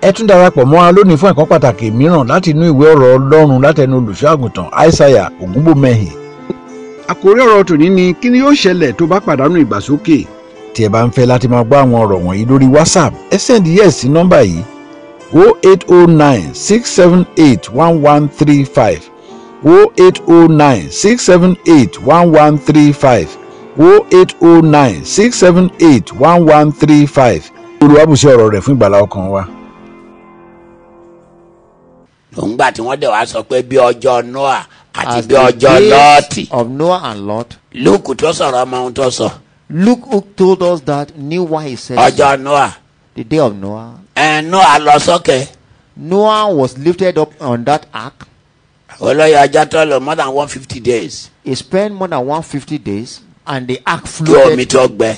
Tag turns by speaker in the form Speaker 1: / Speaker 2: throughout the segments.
Speaker 1: ẹ tún darapọ̀ mọ́ wa lónìí fún ẹ̀kọ́ pàtàkì mìíràn láti inú ìwé ọ̀rọ̀ ọlọ́run látẹnu olùṣọ́àgùntàn aishaiya ògúnbòmẹ́hìn.
Speaker 2: àkórí ọ̀rọ̀ tòní ni kí ni yóò ṣẹlẹ̀ tó bá pàdánù ìgbàsókè
Speaker 1: tí ẹ bá ń fẹ́ láti máa gbọ́ àwọn ọ̀rọ̀ wọ̀nyí lórí whatsapp ẹ send yes sí nọ́mbà yìí 08096781135 08096781135 08096781135 olùwàbùsẹ̀ ọ̀rọ̀ rẹ̀ fún ìgbàlá ọkàn wa.
Speaker 3: òǹgbà tí wọ́n dẹ̀ wá sọ pé bí ọjọ́ noah àti
Speaker 4: as
Speaker 3: bí
Speaker 4: the
Speaker 3: ọjọ́
Speaker 4: days
Speaker 3: lọ́ọ̀tì
Speaker 4: of Noah and Lot.
Speaker 3: lúùkù tó sọ̀rọ̀ ọmọ ohun tó sọ
Speaker 4: Luke who told us that knew why he said so.
Speaker 3: ọjọ́ noah
Speaker 4: the day of Noah.
Speaker 3: ẹ̀ noah lọ sókè
Speaker 4: Noah was lifted up on that ark.
Speaker 3: olóyè ọjọ́ tó lò more than one fifty days
Speaker 4: He spent more than 150 days and the ark
Speaker 3: kí omi
Speaker 4: floated
Speaker 3: tó gbẹ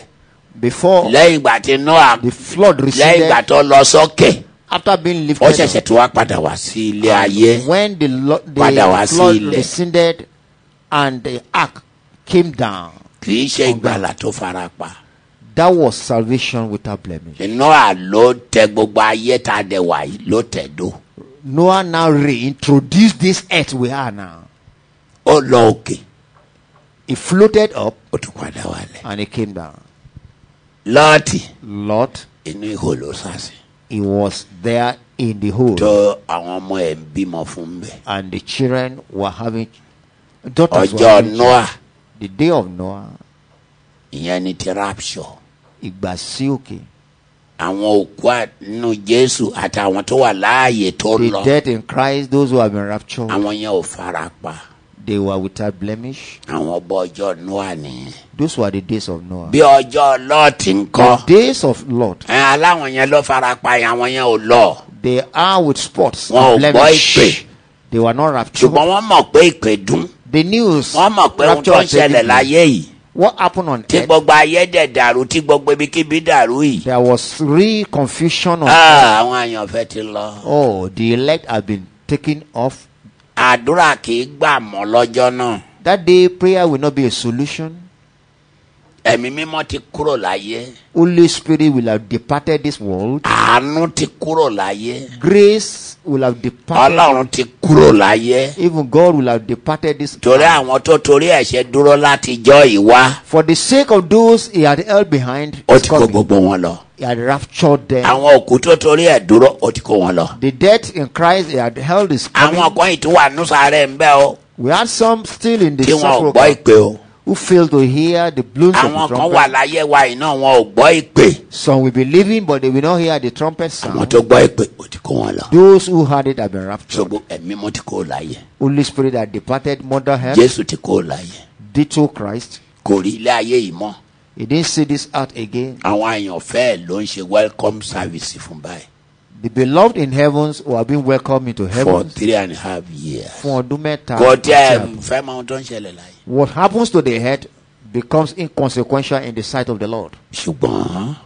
Speaker 4: before
Speaker 3: lẹ́yìn ìgbà tí noah
Speaker 4: the flood
Speaker 3: lẹ́yìn ìgbà
Speaker 4: receded
Speaker 3: tó lọ sókè
Speaker 4: after being
Speaker 3: ó
Speaker 4: lifted
Speaker 3: ṣẹ̀ṣẹ̀
Speaker 4: up.
Speaker 3: tó wá padà wá sí ilé ayé
Speaker 4: When the, lo-
Speaker 3: Padà wá
Speaker 4: the
Speaker 3: sí
Speaker 4: flood
Speaker 3: ilẹ̀.
Speaker 4: rescinded and the ark came down,
Speaker 3: kì í ṣe ìgbàlà tó fara pa
Speaker 4: that was salvation without blemish.
Speaker 3: noah ló tẹ gbogbo ayé tá a dẹ̀ wá yìí ló tẹ̀ dó
Speaker 4: Noah now reintroduced this earth we are now.
Speaker 3: ó lọ òkè
Speaker 4: He floated up
Speaker 3: ó tún padà wálẹ̀
Speaker 4: and he came down.
Speaker 3: lọ́ọ̀tì
Speaker 4: Lot,
Speaker 3: inú ihò ló sá sí.
Speaker 4: he was there in the hole,
Speaker 3: tó àwọn ọmọ ẹ̀ ń bímọ fún bẹ́ẹ̀.
Speaker 4: and the children were having daughters. were having
Speaker 3: ọjọ́
Speaker 4: children.
Speaker 3: noah
Speaker 4: The day of Noah,
Speaker 3: ìyẹn ni ti rapture.
Speaker 4: Igbasioke,
Speaker 3: àwọn òkú àánú jésù àtàwọn tó wà láàyè tó
Speaker 4: the
Speaker 3: lọ
Speaker 4: dead in Christ, those who have been raptured,
Speaker 3: àwọn yẹn ò fara pa
Speaker 4: they were without blemish.
Speaker 3: àwọn ọba ọjọ́ noah nìyẹn.
Speaker 4: Those were the days of Noah.
Speaker 3: bí ọjọ́ lọ́ọ̀tì ń
Speaker 4: The
Speaker 3: kọ́
Speaker 4: days of Lot,
Speaker 3: ẹ̀ aláwọn yẹn ló fara pa yẹn àwọn yẹn ò lọ
Speaker 4: they are with spots
Speaker 3: Wọn ò
Speaker 4: and
Speaker 3: gbọ́
Speaker 4: blemish.
Speaker 3: ìpè.
Speaker 4: They were not raptured.
Speaker 3: ṣùgbọ́n wọ́n mọ̀ pé ìpè dún
Speaker 4: The news
Speaker 3: wọ́n mọ̀ pé ohun
Speaker 4: rapture
Speaker 3: tó ń
Speaker 4: was taking
Speaker 3: ṣẹlẹ̀
Speaker 4: place.
Speaker 3: láyé yìí
Speaker 4: What happened on
Speaker 3: tí
Speaker 4: earth?
Speaker 3: gbogbo ayé dẹ̀ dàrú tí gbogbo ibikíbi dàrú yìí
Speaker 4: There was real confusion on
Speaker 3: Ah, àwọn àyànfẹ́ ti lọ.
Speaker 4: Oh, the elect have been taken off.
Speaker 3: àdúrà kì í gbà mọ́ lọ́jọ́ náà
Speaker 4: That day, prayer will not be a solution.
Speaker 3: ẹ̀mí mímọ́ ti kúrò láyé
Speaker 4: Holy Spirit will have departed this world.
Speaker 3: àánú ti kúrò láyé
Speaker 4: Grace will have departed.
Speaker 3: ọlọ́run ti kúrò láyé
Speaker 4: Even God will have departed this.
Speaker 3: torí àwọn tó torí ẹ̀ṣẹ̀ dúró látijọ́ ìwá
Speaker 4: For the sake of those he had held behind,
Speaker 3: ó
Speaker 4: his
Speaker 3: ti kó
Speaker 4: coming,
Speaker 3: gbogbo wọn lọ
Speaker 4: he had raptured them.
Speaker 3: àwọn òkú tó torí ẹ̀ dúró ó ti kó wọn lọ.
Speaker 4: The dead in Christ he had held his
Speaker 3: àwọn
Speaker 4: coming.
Speaker 3: kan ìtúwà nùsàárẹ̀ ń bẹ́ o
Speaker 4: We had some still in the
Speaker 3: tí wọn ò gbọ́
Speaker 4: sepulchre
Speaker 3: ìpè o
Speaker 4: who failed to hear the blooms of
Speaker 3: àwọn
Speaker 4: the
Speaker 3: kan wà
Speaker 4: trumpet.
Speaker 3: láyé wa iná wọn ò gbọ́ ìpè
Speaker 4: Some will be living, but they will not hear the trumpet
Speaker 3: àwọn
Speaker 4: sound.
Speaker 3: tó gbọ́ ìpè ó ti kó wọn lọ.
Speaker 4: Those who heard it have been raptured.
Speaker 3: ṣògbó ẹ̀mí mímọ́ ti kó láyé
Speaker 4: Holy Spirit that departed mother earth,
Speaker 3: jésù ti kó láyé
Speaker 4: ditto Christ.
Speaker 3: kò rí ilé ayé yìí mọ́.
Speaker 4: He didn't see this out again.
Speaker 3: àwọn àyànfẹ́ ẹ̀ ló ń ṣe welcome service fún báyìí
Speaker 4: The beloved in heavens who have been welcomed into
Speaker 3: for
Speaker 4: heaven
Speaker 3: three and a half years.
Speaker 4: for Dumeta.
Speaker 3: kò tí ẹ fẹ́ mọ ohun tó ń ṣẹlẹ̀ láyé.
Speaker 4: What happens to the head becomes inconsequential in the sight of the Lord.
Speaker 3: ṣùgbọ́n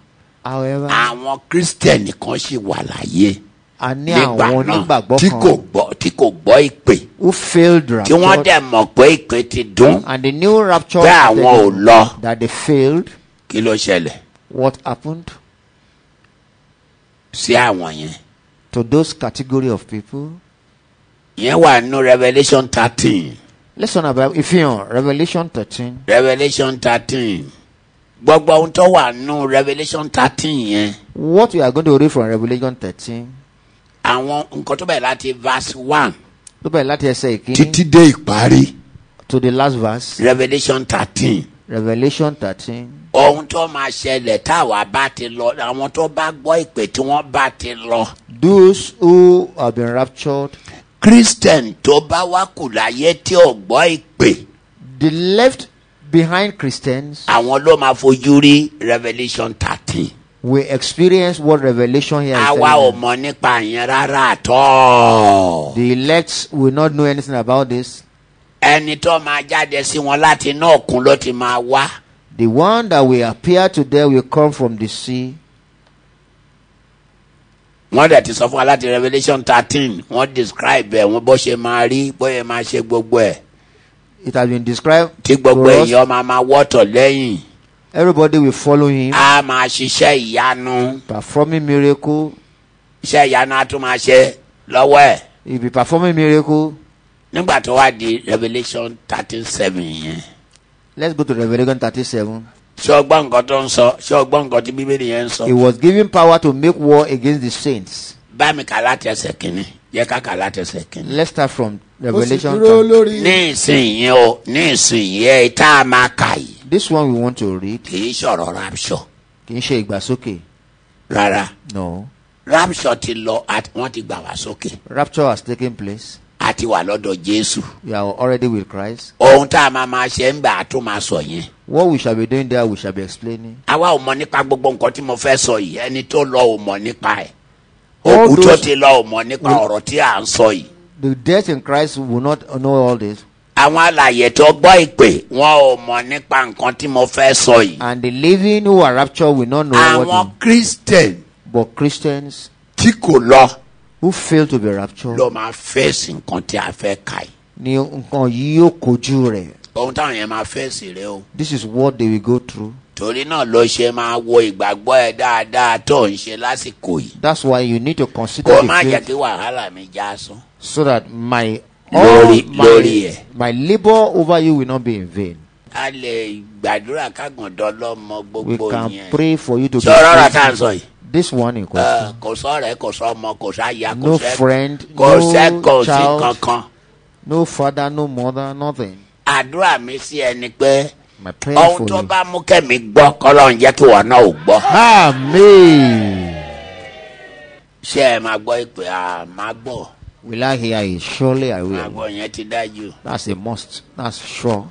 Speaker 4: However,
Speaker 3: àwọn kírísítẹ̀nì kan ṣì wà láyé
Speaker 4: a ní
Speaker 3: nígbà
Speaker 4: àwọn
Speaker 3: náà
Speaker 4: onígbàgbọ́
Speaker 3: tí kò
Speaker 4: kan
Speaker 3: gbọ́ tí kò gbọ́ ìpè
Speaker 4: who failed
Speaker 3: tí wọ́n
Speaker 4: rapture
Speaker 3: dẹ̀ mọ̀ pé ìpè ti dún
Speaker 4: and the new rapture
Speaker 3: pé àwọn ò
Speaker 4: that
Speaker 3: lọ
Speaker 4: they- that they failed.
Speaker 3: kí ló ṣẹlẹ̀
Speaker 4: What happened
Speaker 3: sí àwọn yẹn.
Speaker 4: to those category of people?
Speaker 3: ìyẹn wà nínú revelation thirteen
Speaker 4: Listen about if you know, Revelation 13.
Speaker 3: revelation thirteen gbogbo ohun tó wà nínú revelation thirteen yẹn
Speaker 4: What we are going to read from Revelation 13
Speaker 3: àwọn nǹkan tó bẹ̀rẹ̀ láti verse one
Speaker 4: tó bẹ̀rẹ̀ láti ẹsẹ̀ ìkíní
Speaker 3: títí dé ìparí.
Speaker 4: to the last verse
Speaker 3: revelation thirteen.
Speaker 4: revelation thirteen
Speaker 3: ohun tó máa ṣẹlẹ̀ táwa bá ti lọ àwọn tó bá gbọ́ ìpè tí wọ́n bá ti lọ.
Speaker 4: those who have been raptured
Speaker 3: christian tó bá wá kù láyé tí ò gbọ́ ìpè
Speaker 4: the left behind Christians
Speaker 3: àwọn ló máa fojú rí revelation thirteen.
Speaker 4: will experience what revelation here is
Speaker 3: àwa ò
Speaker 4: telling them.
Speaker 3: mọ̀ nípa yẹn rárá àtọ́.
Speaker 4: the elect will not know anything about this
Speaker 3: ẹni tó máa jáde sí wọn láti inú òkun ló ti máa wá.
Speaker 4: the one that will appear today will come from the sea
Speaker 3: wọ́n dẹ̀ ti sọ fún wa láti revelation thirteen wọ́n describe ẹ̀ wọ́n bó ṣe máa rí bóyá máa ṣe gbogbo ẹ̀
Speaker 4: it has been described
Speaker 3: tí gbogbo
Speaker 4: to us.
Speaker 3: èèyàn máa máa wọ́tọ̀ lẹ́yìn.
Speaker 4: everybody will follow him
Speaker 3: a máa ṣiṣẹ́ ìyanu
Speaker 4: performing miracle
Speaker 3: iṣẹ́ ìyanu á tún máa ṣe lọ́wọ́ ẹ̀
Speaker 4: He'll be performing miracle.
Speaker 3: nígbà tó wá di revelation thirteen seven yẹn
Speaker 4: Let's go to Revelation 37.
Speaker 3: ṣé o gbọ́ nǹkan tó ń sọ ṣé o gbọ́ nǹkan tí bíbélì yẹn ń sọ
Speaker 4: He was given power to make war against the saints.
Speaker 3: bá mi kà láti ẹsẹ̀ kìíní jẹ́ ká kà láti ẹsẹ̀ kìíní.
Speaker 4: Let's start from
Speaker 5: ó sì
Speaker 4: Revelation.
Speaker 5: dúró lórí
Speaker 3: ní ìsinyìí o ní ìsinyìí ẹ̀ tá a máa kà yìí
Speaker 4: This one we want to read.
Speaker 3: kì í sọ̀rọ̀ rapture
Speaker 4: Kì í ṣe ìgbàsókè.
Speaker 3: rárá
Speaker 4: No.
Speaker 3: rapture ti lọ àti- wọ́n ti gbà wá sókè
Speaker 4: Rapture has taken place.
Speaker 3: a ti wà lọ́dọ̀ jésù
Speaker 4: We are already with Christ.
Speaker 3: ohun tá a máa máa ṣe ń gbà á tún máa sọ yẹn.
Speaker 4: What we shall be doing there, we shall be explaining.
Speaker 3: àwa ò mọ nípa gbogbo nǹkan tí mo fẹ́ sọ yìí ẹni tó lọ ò mọ nípa ẹ̀
Speaker 4: All
Speaker 3: òkú tó
Speaker 4: those- Mm.
Speaker 3: ti lọ ò mọ nípa ọ̀rọ̀ tí à ń sọ yìí
Speaker 4: The death in Christ will not know all this.
Speaker 3: àwọn alàyè tó gbọ́ ìpè wọn ò mọ nípa nǹkan tí mo fẹ́ sọ yìí
Speaker 4: And the living who are raptured will not know
Speaker 3: àwọn
Speaker 4: what.
Speaker 3: christian
Speaker 4: But Christians
Speaker 3: tí kò lọ
Speaker 4: who fail to be raptured
Speaker 3: ló máa fèsì nǹkan tí a fẹ́ kà yìí
Speaker 4: ni nǹkan yìí yóò kojú rẹ̀.
Speaker 3: ohun táwọn yẹn máa fèsì rẹ o
Speaker 4: This is what they will go through.
Speaker 3: torí náà ló ṣe máa wo ìgbàgbọ́ ẹ dáadáa tó ń ṣe lásìkò yìí
Speaker 4: That's why you need to consider
Speaker 3: kó
Speaker 4: the
Speaker 3: má jẹ́
Speaker 4: faith
Speaker 3: kí wàhálà mi já sán
Speaker 4: so that my
Speaker 3: Lórí-
Speaker 4: my,
Speaker 3: lórí ẹ̀.
Speaker 4: my labor over you will not be in vain.
Speaker 3: a lè gbàdúrà kágàndán lọ́mọ
Speaker 4: We
Speaker 3: gbogbo
Speaker 4: can
Speaker 3: yẹn
Speaker 4: pray for you to be
Speaker 3: sọ̀rọ̀ rà tá à ń
Speaker 4: faithful.
Speaker 3: sọ yìí.
Speaker 4: This one in
Speaker 3: Ẹ,
Speaker 4: question.
Speaker 3: kò sọ̀rẹ́ kò sọmọ kò sáyà kò
Speaker 4: No
Speaker 3: sẹ́-
Speaker 4: friend,
Speaker 3: kò
Speaker 4: no
Speaker 3: sẹ́kọ̀ sí
Speaker 4: child.
Speaker 3: kankan.
Speaker 4: No father, no mother, nothing.
Speaker 3: àdúrà mi sí ẹni pé
Speaker 4: My prayer
Speaker 3: ohun
Speaker 4: for
Speaker 3: tó
Speaker 4: you.
Speaker 3: bá mú kẹ́mi gbọ́ kọ́lọ́run jẹ́ kí wọ́n náà ò gbọ́.
Speaker 4: Amen.
Speaker 3: ṣé ẹ máa gbọ́ ìpè à máa gbọ́
Speaker 4: Will I hear it? Surely
Speaker 3: máa
Speaker 4: I will.
Speaker 3: gbọ́ yẹn ti dájú.
Speaker 4: That's a must. That's sure.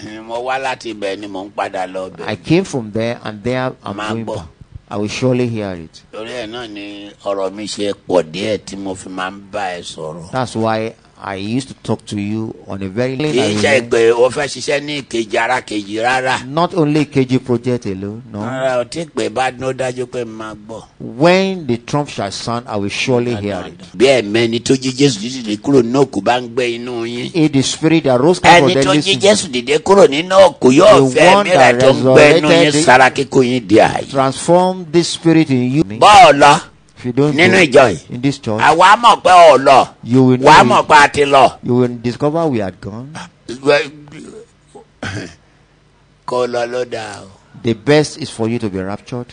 Speaker 3: Mm, mo wá láti ibẹ̀ ni mò ń padà lọ
Speaker 4: I
Speaker 3: bẹ̀.
Speaker 4: came from there and there I'm
Speaker 3: Man,
Speaker 4: going
Speaker 3: boy.
Speaker 4: back. I will surely hear it.
Speaker 3: torí ẹ̀ náà ni ọ̀rọ̀ mi ṣe pọ̀ díẹ̀ tí mo fi máa ń bá ẹ sọ̀rọ̀.
Speaker 4: That's why I used to talk to you on a very
Speaker 3: kì í ṣe
Speaker 4: late
Speaker 3: pé o fẹ́ ṣiṣẹ́ ní ìkejì ara kejì rárá.
Speaker 4: Not only KG project alone, no.
Speaker 3: rárá o tí pé bá ní ó dájú pé máa gbọ́.
Speaker 4: When the trump shall sound, I will surely hear it.
Speaker 3: bí ẹ̀mẹ́ni tó jí jésù jíjìlẹ̀ kúrò ní òkú bá ń gbé inú yín.
Speaker 4: If the spirit that rose Christ
Speaker 3: ẹni
Speaker 4: from the
Speaker 3: tó jí
Speaker 4: dead
Speaker 3: jésù dìde kúrò nínú òkú yóò
Speaker 4: The
Speaker 3: fẹ́
Speaker 4: one
Speaker 3: mìíràn
Speaker 4: that
Speaker 3: tó ń gbé inú
Speaker 4: resurrected
Speaker 3: yín
Speaker 4: the-
Speaker 3: sára kíkó yín di àyè.
Speaker 4: transform this spirit in you.
Speaker 3: bọ́ọ̀lọ
Speaker 4: If you don't
Speaker 3: nínú
Speaker 4: go
Speaker 3: ìjọ yìí
Speaker 4: in this church,
Speaker 3: àwa mọ̀ pé ọ̀lọ
Speaker 4: You will
Speaker 3: wà á
Speaker 4: know.
Speaker 3: mọ̀ pé a ti lọ.
Speaker 4: you will discover we are gone.
Speaker 3: kó lọ ló dáa o.
Speaker 4: The best is for you to be raptured.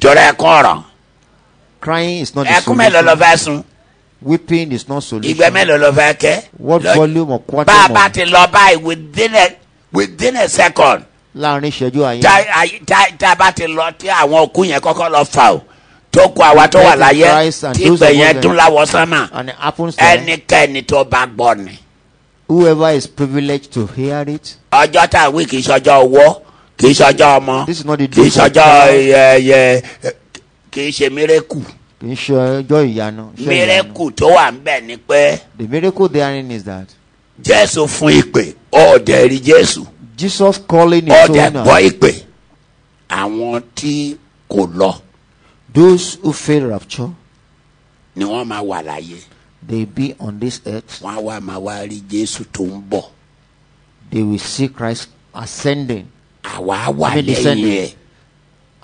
Speaker 3: jọrọ ẹkún ọ̀rọ̀
Speaker 4: Crying is not the
Speaker 3: ẹkún mélòó lọ
Speaker 4: solution.
Speaker 3: fẹ́ sun
Speaker 4: Weeping is
Speaker 3: ìgbẹ́
Speaker 4: not solution.
Speaker 3: mélòó lọ fẹ́ kẹ́.
Speaker 4: What
Speaker 3: Lọ-
Speaker 4: volume or
Speaker 3: bá a
Speaker 4: quantum
Speaker 3: bá
Speaker 4: of
Speaker 3: ti lọ báyìí within a within a second
Speaker 4: láàrin ìṣẹ́jú àyè.
Speaker 3: tá àyè- tá- tá a bá ti lọ tí àwọn òkú yẹn kọ́kọ́ lọ fà o tó kọ àwa tó wà láyé
Speaker 4: Christ and
Speaker 3: tí
Speaker 4: those
Speaker 3: ìgbẹ́
Speaker 4: of
Speaker 3: yẹn
Speaker 4: us
Speaker 3: dún láwọ sánmà
Speaker 4: And it happens to them.
Speaker 3: ẹnikẹ́ni tó bá gbọ́ ni.
Speaker 4: whoever is privileged to hear it.
Speaker 3: ọjọ́ tá a wí kì í ṣọjọ́ owó kì í ṣọjọ́ ọmọ
Speaker 4: This is not the
Speaker 3: kì í
Speaker 4: day for
Speaker 3: ṣọjọ́
Speaker 4: God.
Speaker 3: ẹyẹ kì í ṣe mírẹ́kù
Speaker 4: Kì í ṣe ọjọ́ ìyanu. iṣẹ́ ìyanu.
Speaker 3: mírẹ́kù tó wà ń bẹ̀ ni pé
Speaker 4: The miracle therein is that
Speaker 3: jésù fún ìpè ọ̀dẹ̀ rí jésù
Speaker 4: Jesus calling his
Speaker 3: ọ̀dẹ̀
Speaker 4: own.
Speaker 3: gbọ́
Speaker 4: out.
Speaker 3: ìpè àwọn tí kò lọ
Speaker 4: Those who fail rapture,
Speaker 3: ni wọ́n máa wà láyé.
Speaker 4: they be on this earth.
Speaker 3: wọn á wá máa wá rí jésù tó ń bọ̀
Speaker 4: They will see Christ ascending,
Speaker 3: àwa á wà
Speaker 4: I mean,
Speaker 3: lẹ́yìn
Speaker 4: descending.
Speaker 3: ẹ̀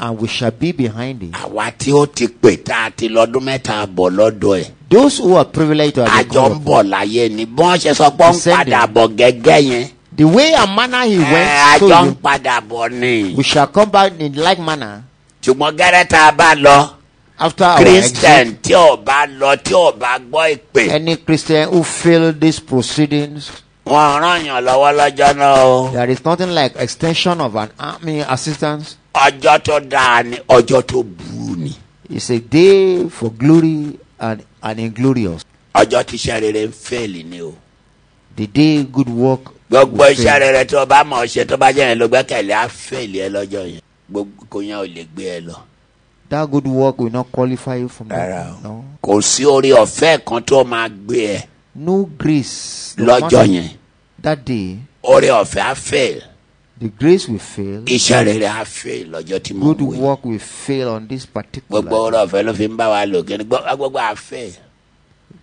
Speaker 4: and we shall be behind him.
Speaker 3: àwa tí ó ti pè tá a ti lọ́dún mẹ́ta bọ̀ lọ́dọ̀ ẹ̀
Speaker 4: Those who are privileged to have been
Speaker 3: àjọ ń
Speaker 4: called
Speaker 3: bọ̀
Speaker 4: upon,
Speaker 3: láyé ni bí wọ́n ṣe sọ pé ó ń
Speaker 4: Descending.
Speaker 3: padà bọ̀ gẹ́gẹ́ yẹn
Speaker 4: the way and manner he
Speaker 3: ẹ̀,
Speaker 4: went,
Speaker 3: àjọ
Speaker 4: so
Speaker 3: ń
Speaker 4: you-
Speaker 3: padà bọ̀ ni
Speaker 4: we shall come back in like manner
Speaker 3: ṣùgbọ́n gẹ́rẹ́ tá a bá lọ
Speaker 4: after our
Speaker 3: christian
Speaker 4: exit.
Speaker 3: tí ò bá lọ tí ò bá gbọ́ ìpè
Speaker 4: Any Christian who fail these proceedings,
Speaker 3: wọn ràn yàn lọ́wọ́ lọ́jọ́ náà o
Speaker 4: there is nothing like extension of an army assistance.
Speaker 3: ọjọ́ tó dáa ni ọjọ́ tó burú ni
Speaker 4: It's a day for glory and, and inglorious.
Speaker 3: ọjọ́ tí iṣẹ́ rere ń fẹ́ẹ̀lì ni o.
Speaker 4: The day good work.
Speaker 3: gbogbo
Speaker 4: will
Speaker 3: iṣẹ́
Speaker 4: fail.
Speaker 3: rere tó o bá mọ̀ ṣe tó bá jẹ́ yẹn ló gbẹ́kẹ̀lé á fèlè ẹ lọ́jọ́ yẹn gbogbo kò yẹn ò lè gbé ẹ lọ.
Speaker 4: That good work will not qualify you from
Speaker 3: rárá
Speaker 4: that.
Speaker 3: o
Speaker 4: No.
Speaker 3: kò sí orí ọ̀fẹ́ kan tó máa gbé ẹ
Speaker 4: no grace. no
Speaker 3: lọ́jọ́
Speaker 4: matter-
Speaker 3: yẹn
Speaker 4: That day,
Speaker 3: orí ọ̀fẹ́ á fẹ́
Speaker 4: the grace will fail.
Speaker 3: iṣẹ́ rere á fẹ́ lọ́jọ́ tí mo
Speaker 4: Good
Speaker 3: wí
Speaker 4: work will fail on this
Speaker 3: gbogbo
Speaker 4: particular.
Speaker 3: orí ọ̀fẹ́ ló fi ń bá wa lò kí ni gbọ́- gbogbo àfẹ́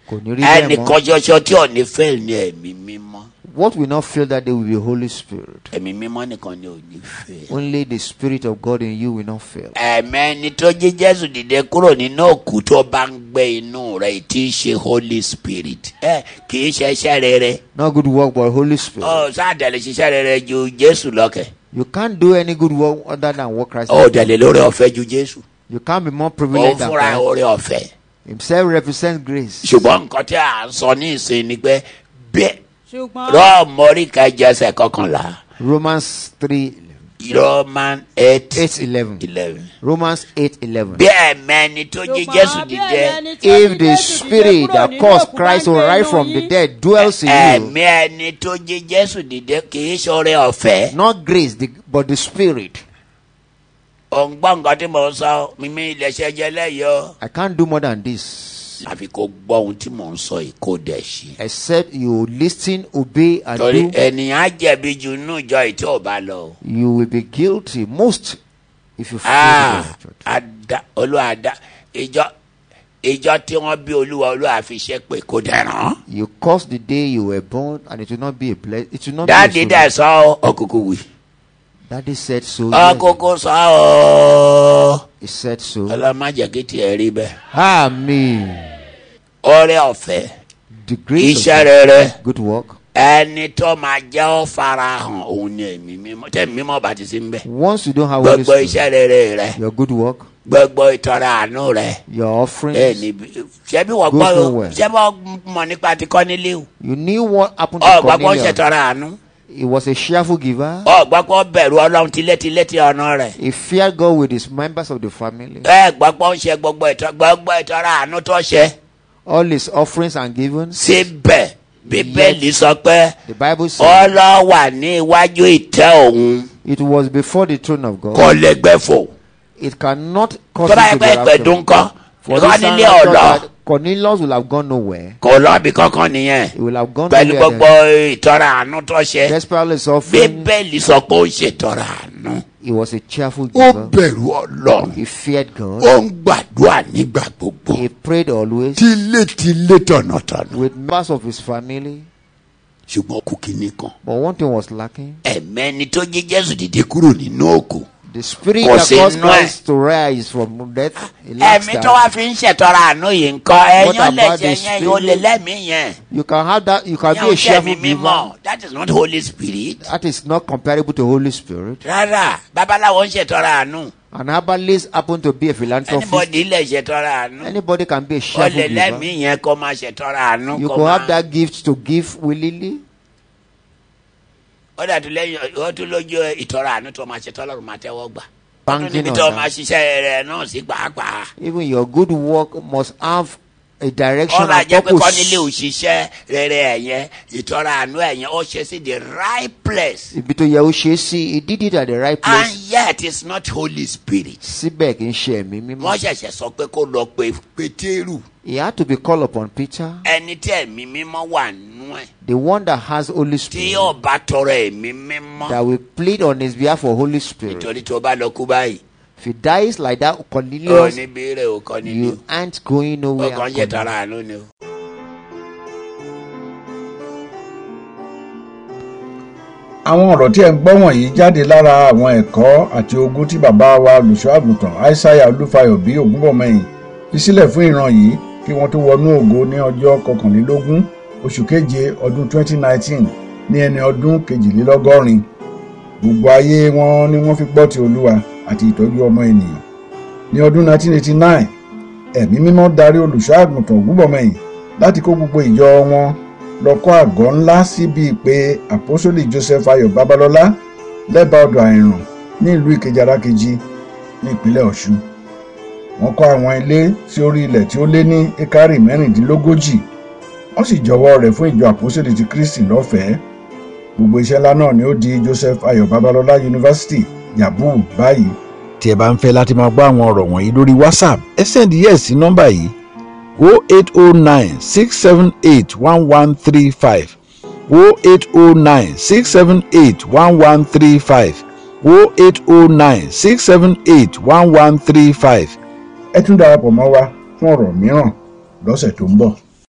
Speaker 4: Kò ní rí bẹ́ẹ̀ mọ́.
Speaker 3: ẹnìkan ṣoṣo tí ò ní fail ni ẹ̀mí mímọ́
Speaker 4: What will not fail that day will be Holy Spirit.
Speaker 3: ẹ̀mí mímọ́ nìkan ni ò ní fail.
Speaker 4: Only the Spirit of God in you will not fail.
Speaker 3: ẹ̀mẹ́ni tó jí jésù dìde kúrò nínú òkú tó bá ń gbé inú rẹ̀ tí í ṣe holy spirit ẹ kì í ṣe iṣẹ́ rere
Speaker 4: Not good work, but Holy Spirit.
Speaker 3: ó sáàdẹ̀lẹ̀ ṣiṣẹ́ rere ju jésù lọ́kẹ̀
Speaker 4: You can't do any good work other than what Christ
Speaker 3: ó
Speaker 4: has done.
Speaker 3: dẹ̀lẹ̀ lórí ọ̀fẹ́ ju jésù
Speaker 4: You can't be more
Speaker 3: ó
Speaker 4: privileged than
Speaker 3: fúnra
Speaker 4: Christ.
Speaker 3: orí ọ̀fẹ́
Speaker 4: Himself represents grace.
Speaker 3: ṣùgbọ́n nǹkan tí à ń sọ ní ìsìn ni pé bẹ́ẹ̀
Speaker 5: ṣùgbọ́n
Speaker 3: rọ́ọ̀mù orí kẹjọ ẹsẹ̀ kọkànlá
Speaker 4: Romans 3,
Speaker 3: roman eight
Speaker 4: 8, 11.
Speaker 3: eleven
Speaker 4: Romans 8, 11.
Speaker 3: bí ẹ̀mẹ́ni tó jí jésù dìde
Speaker 4: If the spirit that caused Christ to rise from the dead dwells in
Speaker 3: ẹ̀mí
Speaker 4: you,
Speaker 3: ẹni tó jí jésù dìde kì í ṣe orí ọ̀fẹ́.
Speaker 4: not grace, the- but the spirit.
Speaker 3: òǹgbọ́ nǹkan tí mò ń sọ mímí ilẹ̀ṣẹ̀ jẹ lẹ́yìn o.
Speaker 4: I can't do more than this.
Speaker 3: àfi kò gbọ́ ohun tí mò ń sọ yìí kó dẹ̀ ṣe.
Speaker 4: Except you listen, obey, and
Speaker 3: torí
Speaker 4: do,
Speaker 3: ènìyàn á jẹ̀bi jù nínú ìjọ yìí tí ò bá lọ. o.
Speaker 4: you will be guilty most if you fail.
Speaker 3: Ah,
Speaker 4: the Lord.
Speaker 3: ada olúwa da ìjọ ìjọ tí wọ́n bí olúwa olúwa fi ṣe pé kó dẹ̀ràn.
Speaker 4: You caused the day you were born, and it will not be a blessing. It will not
Speaker 3: dáàdi
Speaker 4: be a
Speaker 3: dẹ̀
Speaker 4: solution.
Speaker 3: sọ ọ́, ọkùnkùn wì.
Speaker 4: Daddy said so.
Speaker 3: ọkùnkùn sọ ọ́
Speaker 4: yes. He said so.
Speaker 3: ọlọ́mọdéjì tiẹ̀ rí bẹ́ẹ̀.
Speaker 4: Amen.
Speaker 3: ọrẹ ọ̀fẹ́
Speaker 4: The grace
Speaker 3: iṣẹ́
Speaker 4: of
Speaker 3: rere
Speaker 4: good work.
Speaker 3: ẹni tó máa jẹ́ ọ́ farahàn òun ni èmi mímọ́ tẹ̀mí mímọ́ bá ti sí ń bẹ̀.
Speaker 4: Once you don't have Holy
Speaker 3: gbogbo
Speaker 4: Spirit,
Speaker 3: iṣẹ́ rere rẹ
Speaker 4: your good work,
Speaker 3: gbogbo ìtọrẹ àánú rẹ
Speaker 4: your offerings,
Speaker 3: bẹ́ẹ̀ ni bí- ṣebí wọ́n
Speaker 4: Go
Speaker 3: gbọ́
Speaker 4: somewhere.
Speaker 3: ṣebí wọ́n mọ̀ nípa ti kọ́nílé o
Speaker 4: you knew what happened to
Speaker 3: ọ̀gbọ́n kó
Speaker 4: Cornelius.
Speaker 3: ṣètọrẹ àánú
Speaker 4: He was a cheerful giver.
Speaker 3: ọ̀gbọ́n kó bẹ̀rù ọlọ́run tilétilé ti ọ̀nà rẹ̀
Speaker 4: He feared God with his members of the family.
Speaker 3: ẹ̀gbọ́n kó ń ṣe gbogbo ìtọ- gbogbo ìtọrẹ àánú tó ṣe
Speaker 4: All his offerings and givings.
Speaker 3: síbẹ̀ bíbélì sọ pé
Speaker 4: The Bible says
Speaker 3: ọlọ́wà ní iwájú ìtẹ́ òun
Speaker 4: it was before the throne of
Speaker 3: kò
Speaker 4: God.
Speaker 3: lè gbẹ̀fò
Speaker 4: It cannot
Speaker 3: tó
Speaker 4: cause
Speaker 3: bá yẹ pé
Speaker 4: him to be raptured.
Speaker 3: pẹ̀dùn kọ́
Speaker 4: For this time,
Speaker 3: kọ́nílé
Speaker 4: I thought
Speaker 3: ọ̀lọ́
Speaker 4: that Cornelius will have gone nowhere.
Speaker 3: kò lọ́ọ̀bì kankan nìyẹn
Speaker 4: He will have gone
Speaker 3: pẹ̀lú
Speaker 4: nowhere.
Speaker 3: gbogbo
Speaker 4: then.
Speaker 3: ìtọrẹ àánú tó ṣe.
Speaker 4: Despite all his offering,
Speaker 3: bíbélì sọ pé ó ń ṣètọrọ àánú
Speaker 4: he was a cheerful
Speaker 3: ó
Speaker 4: giver.
Speaker 3: bẹ̀rù ọlọ́run
Speaker 4: He feared God.
Speaker 3: ó ń gbàdúrà nígbà gbogbo
Speaker 4: He prayed always
Speaker 3: tilétilé tọ̀nàtọ̀nà
Speaker 4: with members of his family.
Speaker 3: ṣùgbọ́n kù kínní kan
Speaker 4: But one thing was lacking.
Speaker 3: ẹ̀mẹ́ni tó jí jésù dìde kúrò nínú òkú
Speaker 4: The spirit
Speaker 3: Kò
Speaker 4: that
Speaker 3: sí
Speaker 4: caused
Speaker 3: nú ẹ̀.
Speaker 4: Christ to rise from death, he lacks
Speaker 3: ẹ̀mí tó wá
Speaker 4: that.
Speaker 3: fi ń ṣètọrọ àánú yìí nǹkan
Speaker 4: What
Speaker 3: ẹ̀yán lè jẹ
Speaker 4: about the
Speaker 3: yẹn ó
Speaker 4: spirit?
Speaker 3: lè lẹ́mìí yẹn
Speaker 4: You can have that. You can
Speaker 3: yẹn
Speaker 4: be
Speaker 3: ó jẹ́
Speaker 4: a
Speaker 3: mi
Speaker 4: cheerful giver.
Speaker 3: mímọ́ that is not holy spirit
Speaker 4: That is not comparable to Holy Spirit.
Speaker 3: rárá babaláwo ń ṣètọrọ àánú
Speaker 4: An herbalist happened to be a philanthropist.
Speaker 3: anybody lè ṣètọrọ àánú
Speaker 4: Anybody can be a
Speaker 3: ó
Speaker 4: cheerful
Speaker 3: lè
Speaker 4: giver.
Speaker 3: lẹ́mìí yẹn kó máa ṣètọrọ àánú
Speaker 4: You
Speaker 3: kó
Speaker 4: could have
Speaker 3: máa
Speaker 4: that gift to give willingly.
Speaker 3: ó dàtú lẹ́yìn ó tún lójú ìtọ́ra àánú tó máa ṣe tọ́lọ́run máa tẹ́wọ́ gbà. ó tún
Speaker 4: Banking
Speaker 3: níbi
Speaker 4: on
Speaker 3: tó máa
Speaker 4: that.
Speaker 3: ṣiṣẹ́ rẹ̀ náà sí pàápàá.
Speaker 4: Even your good work must have a direction
Speaker 3: ọ̀rọ̀
Speaker 4: and
Speaker 3: ajẹ́ pé kọ́ nílé
Speaker 4: purpose.
Speaker 3: òṣìṣẹ́ rere ẹ̀yẹn ìtọ́ra àánú ẹ̀yẹn ó ṣe sí the right place
Speaker 4: Ibi tó yẹ ó ṣe é sí, he did it at the right
Speaker 3: and
Speaker 4: place.
Speaker 3: yet it's not holy spirit.
Speaker 4: Síbẹ̀ kì í ṣe ẹ̀mí
Speaker 3: wọ́n
Speaker 4: mímọ́.
Speaker 3: ṣẹ̀ṣẹ̀ sọ pé kó lọ pe pétérù
Speaker 4: He had to be called upon Peter,
Speaker 3: ẹni tí ẹ̀mí mímọ́ wà nínú ẹ̀
Speaker 4: the one that has Holy
Speaker 3: tí
Speaker 4: Spirit,
Speaker 3: ọba tọrọ ẹ̀mí mímọ́
Speaker 4: that will plead on his behalf for Holy Spirit.
Speaker 3: nítorí tó bá lọ kú báyìí
Speaker 4: If he dies like that,
Speaker 3: ó
Speaker 4: Cornelius,
Speaker 3: níbi rẹ̀ ò kọ́ nílé
Speaker 4: you aren't going
Speaker 3: ó
Speaker 4: nowhere.
Speaker 3: kàn ń ṣètọ́ra àánú ni o.
Speaker 1: àwọn ọ̀rọ̀ tí ẹ̀ ń gbọ́ wọ̀nyí jáde lára àwọn ẹ̀kọ́ àti ogun tí bàbá wa olùṣọ́ àgùntàn aishaiya olúfayọ bí ògúnbọ̀mọyìn fi sílẹ̀ fún ìran yìí kí wọ́n tó wọnú ògo ní ọjọ́ kọkànlélógún oṣù keje ọdún 2019 ní ẹni ọdún kejìlélọ́gọ́rin gbogbo ayé wọn ni wọ́n fi gbọ́ ti olúwa àti ìtọ́jú ọmọ ènìyàn ní ọdún 1989 ẹ̀mí mímọ́ darí olùṣọ́ àgùntàn ògúnbọ̀mọyìn láti kó gbogbo ìjọ wọn lọ kọ́ àgọ́ ńlá síbi ìpè àpọ́sólì joseph ayọ̀ babalọ́lá lẹ́bàá ọ̀dọ̀ àìràn ní ìlú ìkejì arákejì ní ìpínlẹ̀ ọ̀ṣun. wọ́n kọ́ àwọn ilé sí orí ilẹ̀ tí ó lé ní ekari mẹ́rìndínlógójì wọ́n sì jọwọ́ rẹ̀ fún ìjọ àpọ́sólì ti kristi lọ́fẹ̀ẹ́. gbogbo iṣẹ́ ńlá náà ni ó di joseph ayọ̀ babalọ́lá yunifásitì yabu báyìí. tí ẹ bá ń fẹ́ láti máa gbọ́ àwọn ọ̀rọ̀ wọ̀nyí lórí whatsapp ẹ sẹ́ndí yẹ̀ sí nọ́mbà yìí 0809 678 1135 0809 678 1135 0809 678 1135. ẹ tún darapọ̀ mọ́ wa fún ọ̀rọ̀ mìíràn lọ́sẹ̀ tó ń bọ̀.